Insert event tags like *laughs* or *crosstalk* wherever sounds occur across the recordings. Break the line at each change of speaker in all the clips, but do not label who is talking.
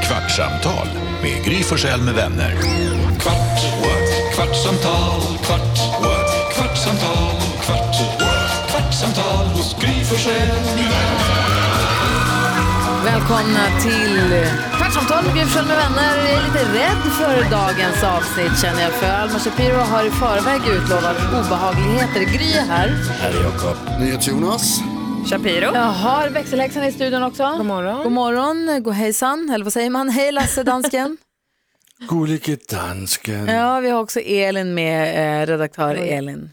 Kvartsamtal med Gry Forssell med vänner. Kvart, what? kvartsamtal, kvart, what? kvartsamtal, kvart, what? kvartsamtal hos Gry Forssell med vänner.
Välkomna till Kvartsamtal med Gry Forssell med vänner. Jag är lite rädd för dagens avsnitt känner jag. För Alma Shapiro har i förväg utlovat obehagligheter. Gry är här.
NyhetsJonas.
Shapiro. Jag har växelhäxan i studion också. God morgon. God morgon. God hejsan. Eller vad säger man? Hej Lasse dansken.
Gullige dansken.
ja, vi har också Elin med, eh, redaktör Elin.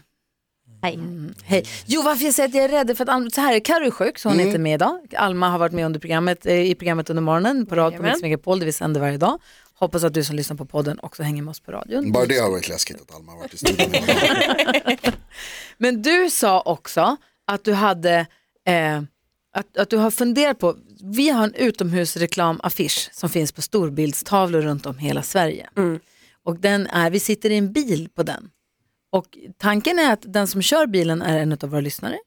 Mm.
Hej.
Hej. Jo, varför jag säger att jag är rädd är för att Alma, så här är Carro är sjuk så hon är inte med idag. Alma har varit med under programmet, eh, i programmet under morgonen på radio på Mix Megapol där vi sänder varje dag. Hoppas att du som lyssnar på podden också hänger med oss på radion.
Bara det har varit läskigt att Alma har varit i studion.
Men du sa också att du hade, eh, att, att du har funderat på, vi har en utomhusreklamaffisch som finns på storbildstavlor runt om hela Sverige. Och den är, vi sitter i en bil på den. Och tanken är att den som kör bilen är en av våra lyssnare.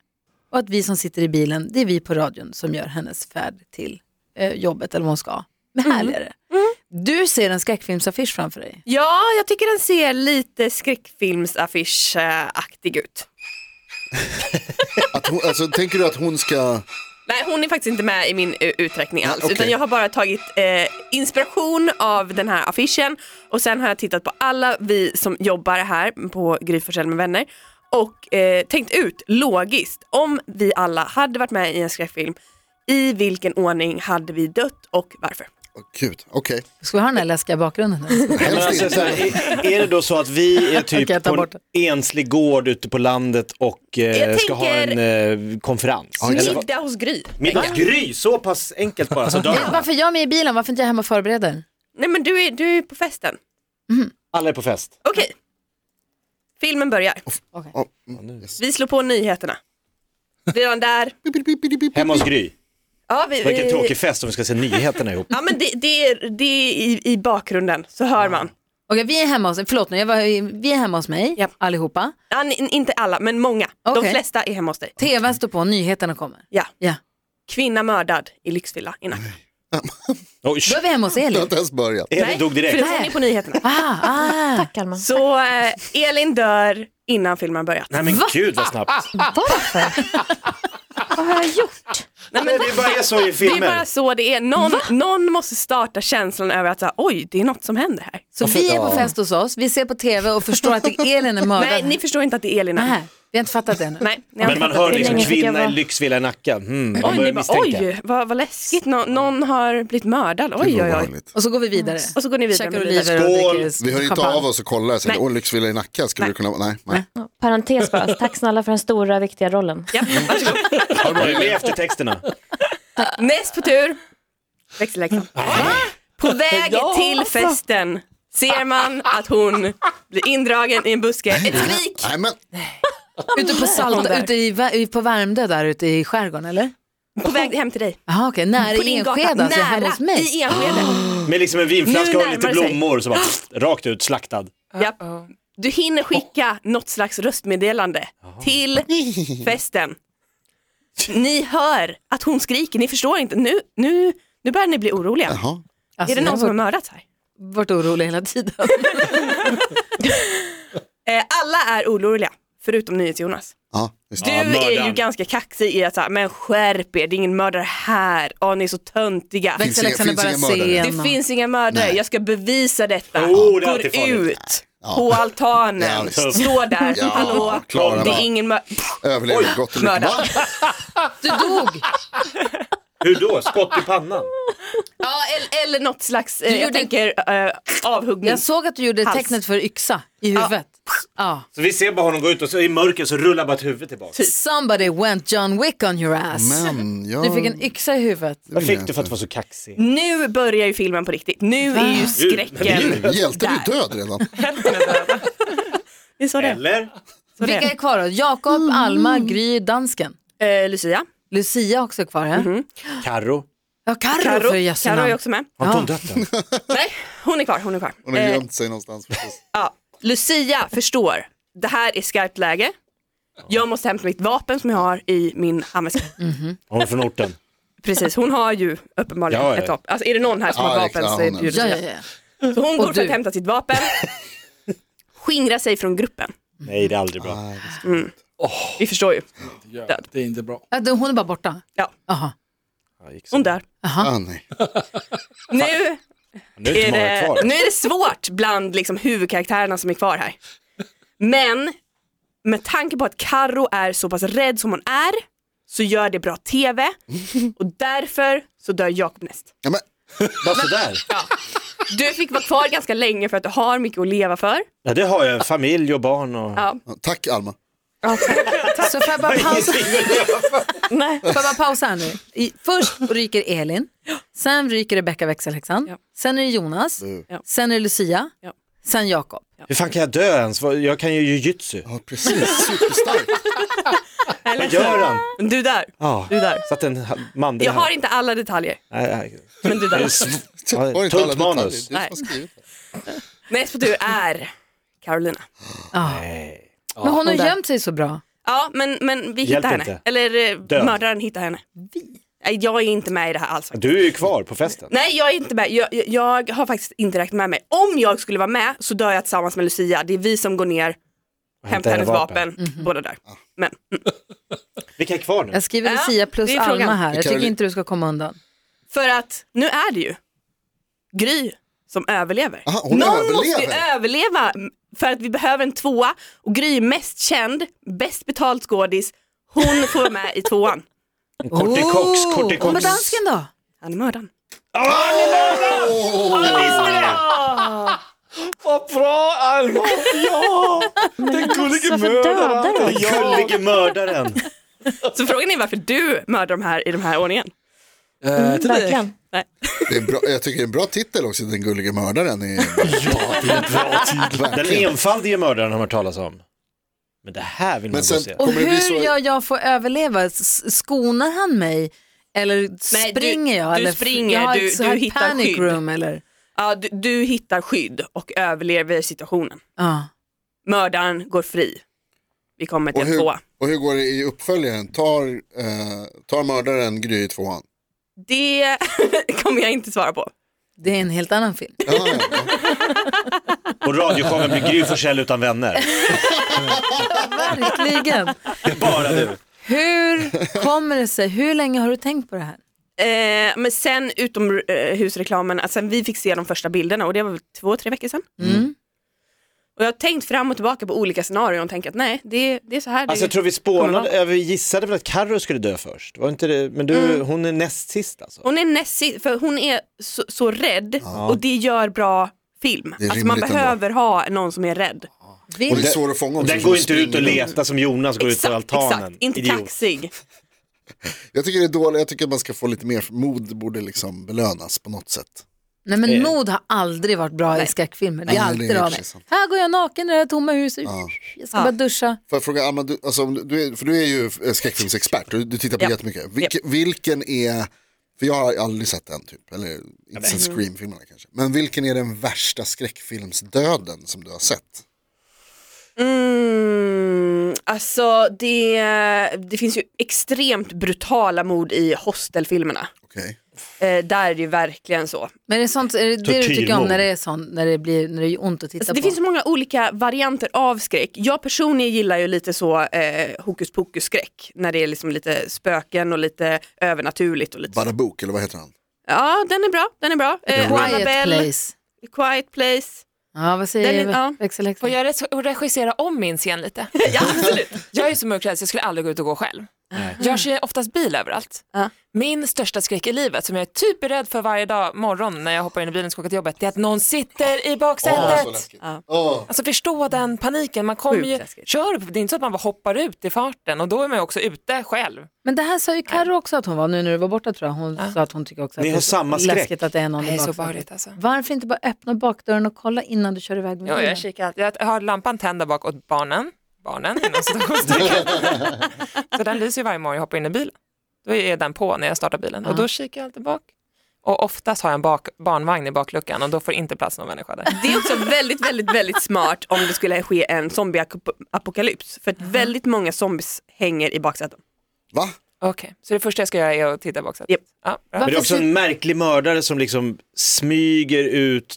Och att vi som sitter i bilen, det är vi på radion som gör hennes färd till eh, jobbet eller vad hon ska. Men härligare. Du ser en skräckfilmsaffisch framför dig.
Ja, jag tycker den ser lite skräckfilmsaffisch-aktig ut.
Att hon, alltså, tänker du att hon ska...
Nej, hon är faktiskt inte med i min eh, uträkning alls,
Okej.
utan jag har bara tagit eh, inspiration av den här affischen och sen har jag tittat på alla vi som jobbar här på Gry Forssell med vänner och eh, tänkt ut logiskt om vi alla hade varit med i en skräckfilm, i vilken ordning hade vi dött och varför?
Åh, Gud, okej.
Ska vi ha den här läskiga bakgrunden?
Men
Helst
alltså,
inte.
så här, är, är det då så att vi
*laughs*
är typ
Okej, ta
på
bort
en enslig gård ute på landet och eh,
Jag
ska ha
tänker-
en eh, konferens? Eller vad-
Middag hos Gry.
Middagsgry, så pass enkelt
*laughs*
bara så dör man.
Varför är jag med i bilen? Varför inte jag hemma och förbereder?
Nej men du är, du är på festen.
Alla är på fest.
Okej, filmen börjar.
Ja, mm, yes.
Vi slår på nyheterna. Redan där.
Hemma hos Gry.
Ja, vi,
Vilken
vi-
tråkig fest om vi ska se
*laughs*
nyheterna ihop.
Ja, men det, det är, det är i, i bakgrunden, så hör man.
Okej, vi är hemma hos, förlåt nu, jag var, vi är hemma hos mig
Japp.
allihopa.
Ja, ni- inte alla, men många.
Okej.
De flesta är hemma hos dig.
TVn står på, nyheterna kommer.
Ja.
Ja.
Kvinna mördad i Lyxvilla i Nacka.
Oj,
Då är vi hemma hos
Jag har
Elin.
inte ens börjat.
Elin dog
för det
direkt.
får ni på nyheterna.
Ah, ah.
Tack Alma.
Så eh, Elin dör innan filmen har börjat.
Nej men gud vad
Ah,
snabbt.
Varför? Vad har jag gjort?
Nej, men det bara är så i
Det är bara
filmer.
så det är. Någon, någon måste starta känslan över att så här, oj, det är något som händer här.
Så vi är på fest hos oss, vi ser på TV och förstår att Elin är mördad.
Nej, ni förstår inte att det är Elin. här.
Nej, vi har inte fattat det ännu.
Nej, ni har
Men
inte
man
fattat
hör
det.
liksom
länge fick jag
kvinna i
vara-
lyxvilla i Nacka. Hmm, man
Oj, ni
börjar
bara,
misstänka.
oj vad, vad läskigt. Nå, någon har blivit mördad. Oj, oj, oj.
Obehagligt.
Och så går vi vidare.
Mm. Och så går ni vidare
Käkar
med livet.
oliver och
Skål.
dricker
Vi hör inte
champagne.
av oss och kollar. Så här,
Nej.
Åh, Lyxvilla i Nacka, skulle du kunna... Nej, nej.
Parentes bara. Tack snälla för den stora viktiga rollen.
Ja, varsågod.
Har du varit med i eftertexterna?
Näst på tur, växelläxan. På väg till festen ser man att hon blir indragen i en buske. Ett skrik.
nej men
Ute på Salta, ute i, Vä- i- på Värmdö där ute i skärgården eller?
På väg hem till dig.
Jaha okej, nära
På din gata.
Enskede alltså, hemma
Nära.
hos mig.
I Enskede.
Med liksom en vinflaska
Nu
och lite
närmar det sig.
blommor så bara pff, rakt ut slaktad.
Japp. Du hinner skicka något slags röstmeddelande
*laughs*
till festen. Ni hör att hon skriker, ni förstår inte. Nu, nu, nu börjar ni bli oroliga.
jaha.
Alltså,
Är det någon som
jag
har
har
mördats här?
varit- varit orolig hela tiden.
Eh, Alla är oroliga, förutom NyhetsJonas.
Ja, just
Du
det.
Ja,
är ju
mördaren.
ganska kaxig i att säga, men skärp er, det är ingen mördare här. Åh, ni är så töntiga.
Finns inga-
Växelläxan är
finns
bara
inga mördare.
sen.
Det finns inga mördare, jag ska bevisa detta.
Oh, det är
Går
alltid farligt.
ut på
Ja,
altanen,
visst.
står där,
Ja,
hallå,
klara
det
va.
är ingen mördare.
Överlever gott och mycket.
mördare.
Va?
Du dog!
Hur då? Skott i pannan?
Ja, eller, eller något slags, eh, jag
gjorde-
tänker eh, avhuggning.
Jag såg att du gjorde
Hals.
tecknet för yxa i huvudet. Ja.
Så vi ser bara honom gå ut och så i mörker så rullar bara ett huvud tillbaka.
Typ.
Somebody went John Wick on your ass.
Men jag...
Du fick en yxa i huvudet.
Vad fick du för att vara så kaxig?
Nu börjar ju filmen på riktigt, nu är ju skräcken
Gud,
Hjälten är ju
där.
död redan.
Vi sa det.
Eller?
Så
Vilka
det. Mm.
är kvar då? Jakob, Alma, Gry, dansken.
Eh, Lucia,
Lucia också är kvar här.
Carro?
Ja, Carro
Mhm. Carro,
för jösse
Carro är
namn.
också med.
Har inte hon dött än?
Nej, hon är kvar, hon är kvar.
Hon har
Eh,
gömt sig någonstans förstås.
Ja, Lucia förstår. Det här är skarpt läge.
Mm.
Jag måste hämta mitt vapen som jag har i min handväska.
Hon är från orten.
Precis, hon har ju uppenbarligen
Ja, ja.
ett vapen. Alltså är det någon här som
Ja,
har
det är
vapen
klart
så är
hon
det
är.
ju
Ja, ja,
Lucia.
ja.
Så hon går
Och
för att
du.
hämta
*laughs*
sitt vapen, skingra sig från gruppen.
Nej, det är aldrig bra.
Nej,
Vi förstår ju.
Ja, det är inte bra.
Ja, då- Hon är bara borta?
Ja.
Aha.
Hon dör.
ah, nej.
Nu
Nu är det
är
inte många
det,
kvar.
nu är det svårt bland liksom huvudkaraktärerna som är kvar här. Men med tanke på att Karo är så pass rädd som hon är så gör det bra TV och därför så dör Jakob näst.
Ja, men,
Bara sådär.
Du fick vara kvar ganska länge för att du har mycket att leva för.
Ja, det har jag. Familj och barn och...
Ja.
tack Alma.
Så får jag
*laughs*
bara pausa,
Nej.
får jag bara pausa här nu? I, först ryker Elin, sen ryker Rebecka växelhäxan,
Ja.
sen är det Jonas,
Ja.
sen är det Lucia,
Ja.
sen Jakob.
Hur fan kan jag dö ens? Vad- Jag kan ju jujutsu.
Ja, precis. Superstark.
Vad gör han?
Du där.
Ja,
Du där.
satt en ha- mandel
Jag
här.
har inte alla detaljer.
Nej, nej.
Men du
Det är
där.
sv- *laughs*
Var
ja,
det inte alla
Tungt
detaljer?
manus.
Det är du som har skrivit det.
Näst på tur är Carolina.
Men hon har
hon där.
gömt sig så bra.
Ja, men, men vi hittar
Hjälp
henne.
inte.
Eller eh,
Död.
mördaren hittar henne. Nej, jag är inte med i det här alls.
Du är ju kvar på festen.
Nej, jag är inte med. Jag, jag- jag har faktiskt inte räknat med mig. Om jag skulle vara med så dör jag tillsammans med Lucia. Det är vi som går ner, hämtar hennes vapen, båda där.
Ah.
Men mm.
Vilka är kvar nu?
Jag skriver
Ja,
Lucia plus
det är frågan.
Alma här, jag
Karoli-
tycker inte du ska komma undan.
för att nu är det ju Gry som överlever.
Aha, hon
Någon måste ju
överlever.
överleva m, för att vi behöver en tvåa och Gry är mest känd, bäst betalt skådis. Hon får vara med i tvåan.
Kortikox,
Och med
kortikox.
dansken då?
Han är mördaren.
Vad bra Alma! Ja! Den gullige
varför dödar
mördaren.
du?
Den gullige mördaren.
Så frågan är varför du mördar de här i den här ordningen.
Verkligen.
Nej.
Det är bra, jag tycker det är en bra titel också, Den gullige mördaren. Är,
Ja, det är en bra tid.
Den
verkligen.
enfaldige mördaren har man hört talas om. Men det här vill
Men
man gå
sen-
se.
Och
Kommer det bli
hur
så-
gör jag för att överleva? S- Skonar han mig? Eller
Nej, du-
springer jag?
du
eller
springer,
jag har
du-
ett så
du
här
hittar
panic
skydd.
room eller?
Ja, du, du hittar skydd och överlever situationen.
Ja.
Mördaren går fri. Vi kommer till
och,
en
hur,
tvåa.
och hur går det i uppföljaren? Tar, eh, tar mördaren Gry i tvåan?
Det *laughs* kommer jag inte svara på.
Det är en helt annan film.
Ja, ja, ja.
Och radioshowen blir Gry Forssell utan vänner.
Verkligen.
Bara du.
Hur kommer det sig? Hur länge har du tänkt på det här?
Eh, men sen utomhusreklamen, alltså sen vi fick se de första bilderna och det var väl två, tre veckor sedan.
Mm.
Och jag har tänkt fram och tillbaka på olika scenarion och tänkt att nej, det, det är så här.
Alltså
det,
jag tror vi spånade, eh, vi gissade väl att Carro skulle dö först. Var inte det? Men du, hon är näst sist alltså.
Mm. Hon är näst si- för hon är så, så rädd och det gör bra film.
Det är
Alltså man
rimligt ändå.
behöver ha någon som är rädd.
Och det
Vill,
är svårt att fånga också.
Den
som
går inte ut
springer
och
runt.
letar som Jonas går ut på
exakt,
altanen.
exakt, inte
Idiot.
kaxig.
Jag tycker det är dåligt, jag tycker man ska få lite mer, mod borde liksom belönas på något sätt.
nej men mod har aldrig varit bra i skräckfilmer. Det
Eh. Nej,
är alltid
det är i
av
och för
mig.
sig sant.
Här går jag naken i det här tomma huset.
Ja.
Jag ska bara duscha.
Får jag fråga, Alma, du, alltså, om du, du är, för du är ju eh, skräckfilmsexpert, du, du tittar på
Ja.
jättemycket. Vilke, Vilken är, för jag har aldrig sett den typ, eller inte sett Scream-filmerna kanske. Men vilken är den värsta skräckfilmsdöden som du har sett?
Mm, alltså det, det finns ju extremt brutala mord i hostelfilmerna.
Okej.
Eh, där är det ju verkligen så. Alltså,
Men är det, sånt, är det, det du tycker om
Tortyrmord.
när det är sånt, när det, blir, när det gör ont att titta
Alltså,
på?
det finns så många olika varianter av skräck. Jag personligen gillar ju lite så eh, hokus pokus skräck. När det är liksom lite spöken och lite övernaturligt. Och lite så.
Badabook, eller vad heter han?
Ja den är bra, den är bra. Eh,
Quiet
Annabelle,
place.
Quiet Place.
Ja, vad säger
Den är- ja.
du? Växelhäxan?
Får jag res- regissera om min scen lite?
Ja absolut.
Jag är så mörkrädd så jag skulle aldrig gå ut och gå själv. Jag kör oftast bil överallt.
Ja.
Min största skräck i livet som jag är typ rädd för varje dag morgon när jag hoppar in i bilen och ska åka till jobbet det är att någon sitter i baksätet. alltså förstå den paniken, man kommer
Sjukt
ju,
läskigt.
kör, det är inte så att man bara hoppar ut i farten och då är man ju också ute själv.
Men det här sa ju Carro också att hon var, nu när du var borta tror jag, hon sa att hon tycker också att
Ni
det
har
är
samma skräck.
läskigt att det är någon
Det
i
är så
baksätet.
obehagligt alltså.
Varför inte bara öppna bakdörren och kolla innan du kör iväg med
Ja,
bilen?
jag, kikar, alltid. jag har lampan tänd där bak åt barnen, barnen inom citationstecken. så den lyser ju varje morgon jag hoppar in i bilen. Då är den på när jag startar bilen och då kikar jag alltid bak. Och oftast har jag en bak, barnvagn i bakluckan och då får det inte plats någon människa där.
Det är också väldigt, väldigt, väldigt smart om det skulle ske
Mm.
en zombieapokalyps. För att väldigt många zombies hänger i baksätet.
Va?
Okej, så det första jag ska göra är att titta i baksätet?
Japp.
Ja, bra.
Men det är också
Varför
en märklig mördare som liksom smyger ut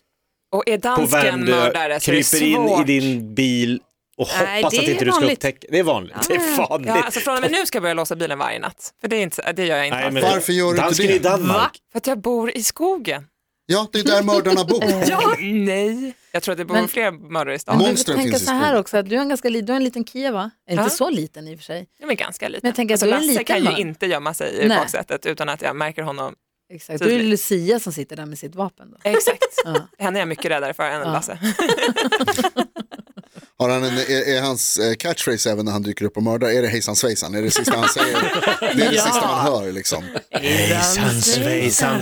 Och är
på
dansken
Värmdö,
mördare så är det
kryper in i
svårt.
din bil och
Nej,
hoppas
det
att
är
inte du ska
vanligt.
upptäcka. Det är vanligt. Det är vanligt.
Ja, alltså från och med nu ska jag börja låsa bilen varje natt. För det, är inte, det gör jag inte.
Nej,
alls.
men
Varför gör du inte
dansken
det?
i Danmark.
För att jag bor i skogen.
Ja, det är där mördarna bor.
Ja, nej. Jag tror att det bor
Men-
fler mördare i
Men
stan.
du
Monstren
får tänka
finns i
så här
skogen.
också, att du har en ganska li- du har en liten Kia va? Inte
Ja.
så liten i och för sig.
De är ganska liten.
Men jag tänker att du är en
Lasse
liten
kan
man.
ju inte gömma sig i
Nej.
baksätet utan att jag märker honom.
Exakt. Då är det
Tydligt.
Lucia som sitter där med sitt vapen. Då.
Exakt.
*laughs* Ja.
Henne är jag mycket räddare för än
Ja.
Lasse.
Har han en, är, är hans eh, catchphrase även när han dyker upp och mördar, är det hejsan svejsan? Är det det sista han säger? Det är det sista man hör liksom.
Hejsan svejsan.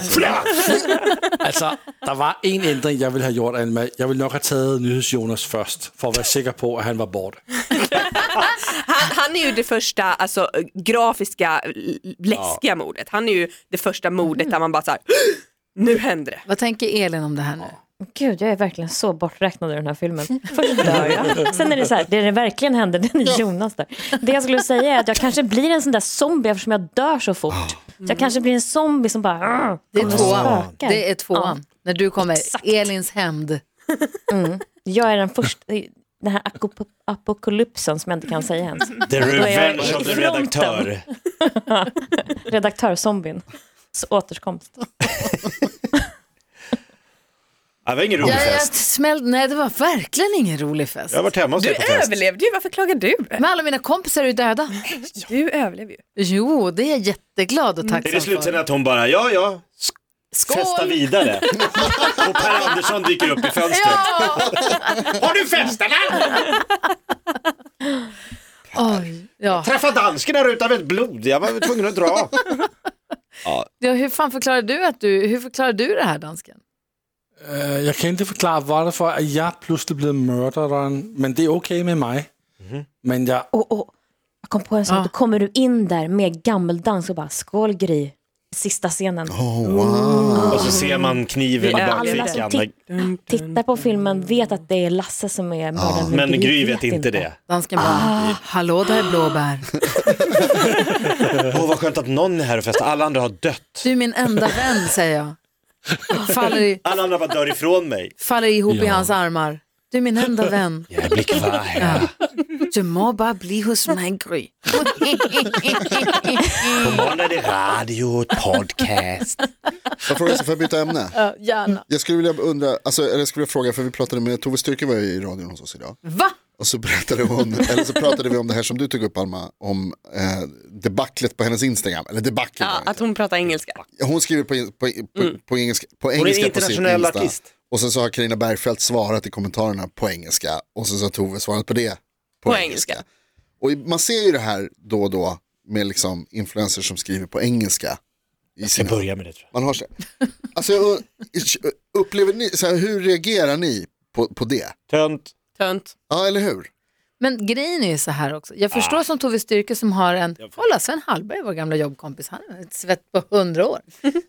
Altså, der var en ændring, jeg ville have gjort, Alma. Jeg ville nok have taget Nyheds Jonas først, for at være sikker på, at han var borte.
Han, han är ju det första alltså, grafiska, l- läskiga mordet. Han är ju det första mordet där man bara så här, nu händer det.
Vad tänker Elin om det här nu?
Gud, jag är verkligen så borträknad i den här filmen. Först dör jag, sen är det så här, det det verkligen händer, den är Jonas där. Det jag skulle säga är att jag kanske blir en sån där zombie eftersom jag dör så fort. Så jag kanske blir en zombie som bara... "Ah." "Arr",
Det är
kommer och
tvåan.
spökar.
Det är tvåan. När du kommer, Elins hämnd.
Jag är den första, den här akop- apokalypsen som jag inte kan säga ens.
The revenge of the
Fronten.
redaktör.
Redaktörzombien. Så återkomst.
Ja, Det var ingen rolig
Jag, jag
fest.
smäll, nej, det var verkligen ingen rolig fest.
Jag har varit hemma hos
Du
dig på fest.
överlevde ju, varför klagar du?
Men alla mina kompisar är ju döda.
Du överlevde ju.
Jo, det är jag jätteglad och
Mm. Är det
tacksam
slutsen
för.
att hon bara, ja ja, sk- festa vidare. Och Per Andersson dyker upp i fönstret. Har du fest eller?
Oj, ja.
Träffa dansken här utav ett blod. Jag var tvungen att dra.
Ja, hur fan förklarar du, att du, hur förklarar du det här dansken?
Øh, jeg kan ikke forklare, hvorfor at jeg pludselig blev mørderen, men det er okay med mig. Men jeg...
Och, och, jag kom på en sak,
Ja.
då kommer du in där med gammeldans och bara skål Gry. Sista scenen.
Oh, wow.
Och så ser man kniven i
Vi är
alla som
bakfickan.
tittar Titta på filmen, vet att det är Lasse som är mördaren.
Men Gry vet inte det.
Dansken bara, hallå där blåbär.
Åh vad skönt att någon är här och festar. Alla andra har dött.
Du är min enda vän, säger jag. Faller, i,
Alla andra bara dör ifrån mig.
faller ihop i
Ja.
hans armar. Du är min enda vän.
Jag blir kvar här.
Du må bara bli hos mig, Gry. *laughs*
På måndag är det radio, podcast.
Jag frågar så får jag byta ämne?
Gärna.
Jag skulle vilja undra, alltså, eller jag skulle vilja fråga, för vi pratade med Tove Styrke var ju i radion hos oss idag.
Va?
Och så berättade hon, eller så pratade vi om det här som du tog upp Alma, om eh, debaclet på hennes Instagram. Eller debaclet. var det inte.
Att hon pratar engelska.
Hon skriver på, på, på, på engelska, på
en
engelska på sin
internationell
Insta.
artist.
Och sen så har Carina Bergfeldt svarat i kommentarerna på engelska. Och sen så har Tove svarat på det på,
På
engelska.
engelska.
Och i- man ser ju det här då och då med liksom influencers som skriver på engelska. I
Jag
sina,
börjar med det tror
man har så. Alltså, jag und- upplever ni, så här, hur reagerar ni på, på det?
jag. Tönt.
Tönt.
Ja, eller hur?
Men grejen är ju så här också. Jag förstår som Tove Styrke som har en, kolla Sven Hallberg, vår gamla jobbkompis, han har ett svett på hundra år.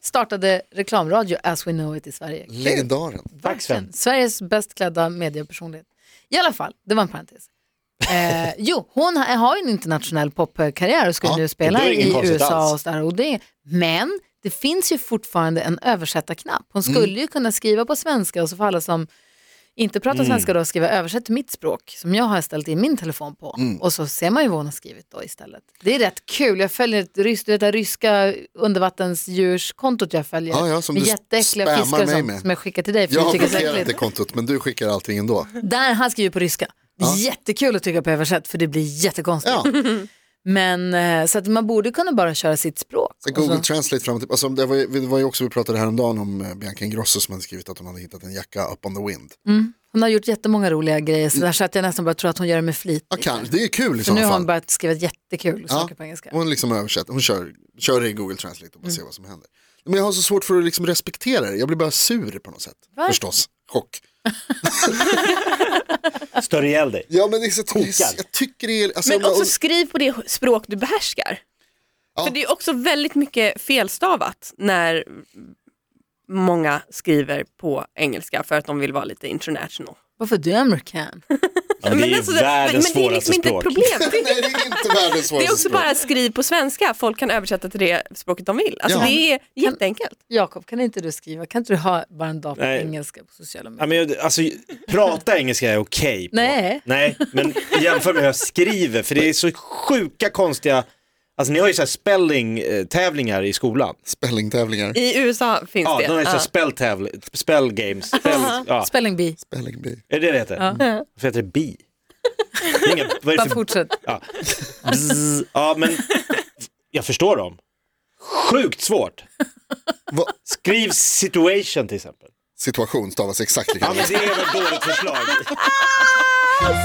Startade reklamradio as we know it i Sverige.
Legendaren.
Tack Sven.
Sveriges bäst klädda mediepersonlighet. I alla fall, det var en parentes. Eh, *laughs* jo, hon har, har ju en internationell popkarriär och ska
Ja,
nu spela
det är inget
i
konstigt
USA
alls.
och sådär. Och det, men det finns ju fortfarande en översättarknapp. Hon
Mm.
skulle ju kunna skriva på svenska och så får alla som inte pratar
Mm.
svenska då skriva översätt till mitt språk som jag har ställt in min telefon på.
Mm.
Och så ser man ju vad hon har skrivit då istället. Det är rätt kul. Jag följer ett rys- det där ryska undervattensdjurskontot jag följer.
Ja, ja, som
med
du
jätteäckliga
spammar
fiskar och
mig
sånt
med.
som jag skickar till dig för
Jag
du
har
tycker det är så
blockerat
äckligt.
det kontot, men du skickar allting ändå.
Där han skriver på ryska. Jättekul att trycka på översätt för det blir jättekonstigt. *laughs*
Ja,
Men eh, så att man borde kunna bara köra sitt språk.
sen
Och så-
Google Translate fram och tillbaka. Alltså, det, var ju, det var ju också, vi pratade häromdagen om eh, Bianca Ingrosso som hade skrivit att hon hade hittat en jacka up on the wind.
mm. Hon har gjort jättemånga roliga grejer så, där, så att jag nästan bara tror att hon gör det med flit.
Ja, kan, det är ju kul i
Så
så
nu har hon
fall.
börjat skriva jättekul saker
Ja.
på engelska.
Hon liksom översätter, hon kör, kör det i Google Translate och bara
Mm.
ser vad som händer. Men jag har så svårt för att liksom respektera det, jag blir bara sur på något sätt. Förstås, chock.
Stör ihjäl dig.
Ja men det är så,
Kokad.
jag tycker det är... Alltså,
Men
om-
också skriv på det språk du behärskar.
Ja.
För det är också väldigt mycket felstavat när många skriver på engelska för att de vill vara lite international.
Varför du är amerikan?
Ja, men det är
alltså,
världens
men det är
svåraste
liksom inte ett
språk.
problem.
Nej, det är inte världens
Det är
svåraste
också
språk.
bara skriv på svenska, folk kan översätta till det språket de vill. Alltså
Ja.
det är jätteenkelt.
*laughs* Jakob, kan inte du skriva? Kan inte du ha bara en dag på
Nej.
engelska på sociala medier?
Ja, men jag, alltså, prata engelska är okej på.
Nej.
Nej, men jämför med hur jag skriver, för det är så sjuka konstiga, alltså ni har ju så här spelling-tävlingar i skolan.
Spellingtävlingar.
I USA finns
Ja,
det.
de har ju så här
Ja.
spell, spell games.
*laughs*
Spell, ja.
Spelling bee,
Spelling bee.
Är det det det heter? Mm. Varför heter det bi? Det är inga, vad är
bara
det för
fortsätt.
Ja. Bzz. ja, men jag förstår dem. Sjukt svårt.
Va?
Skriv situation till exempel.
Situation stavas exakt
Ja,
likadant.
men det är väl ett dåligt förslag.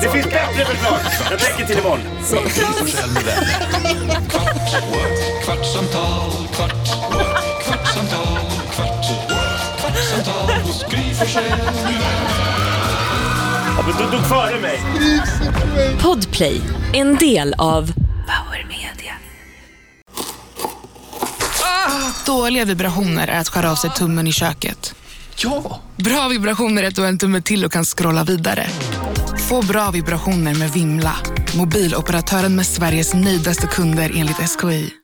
Det finns bättre förslag. Jag tänker till imorgon.
Gry Forssell med vänner. Kvart, what? kvartsamtal, kvart, what? kvartsamtal, kvart, what? kvartsamtal hos Gry Forssell med vänner.
Ja, men du tog före mig.
Podplay, en del av
Dåliga vibrationer är att skära av sig tummen i köket. Ja! Bra vibrationer är att du har en tumme till och kan scrolla vidare. Få bra vibrationer med Vimla. Mobiloperatören med Sveriges nöjdaste kunder enligt SKI.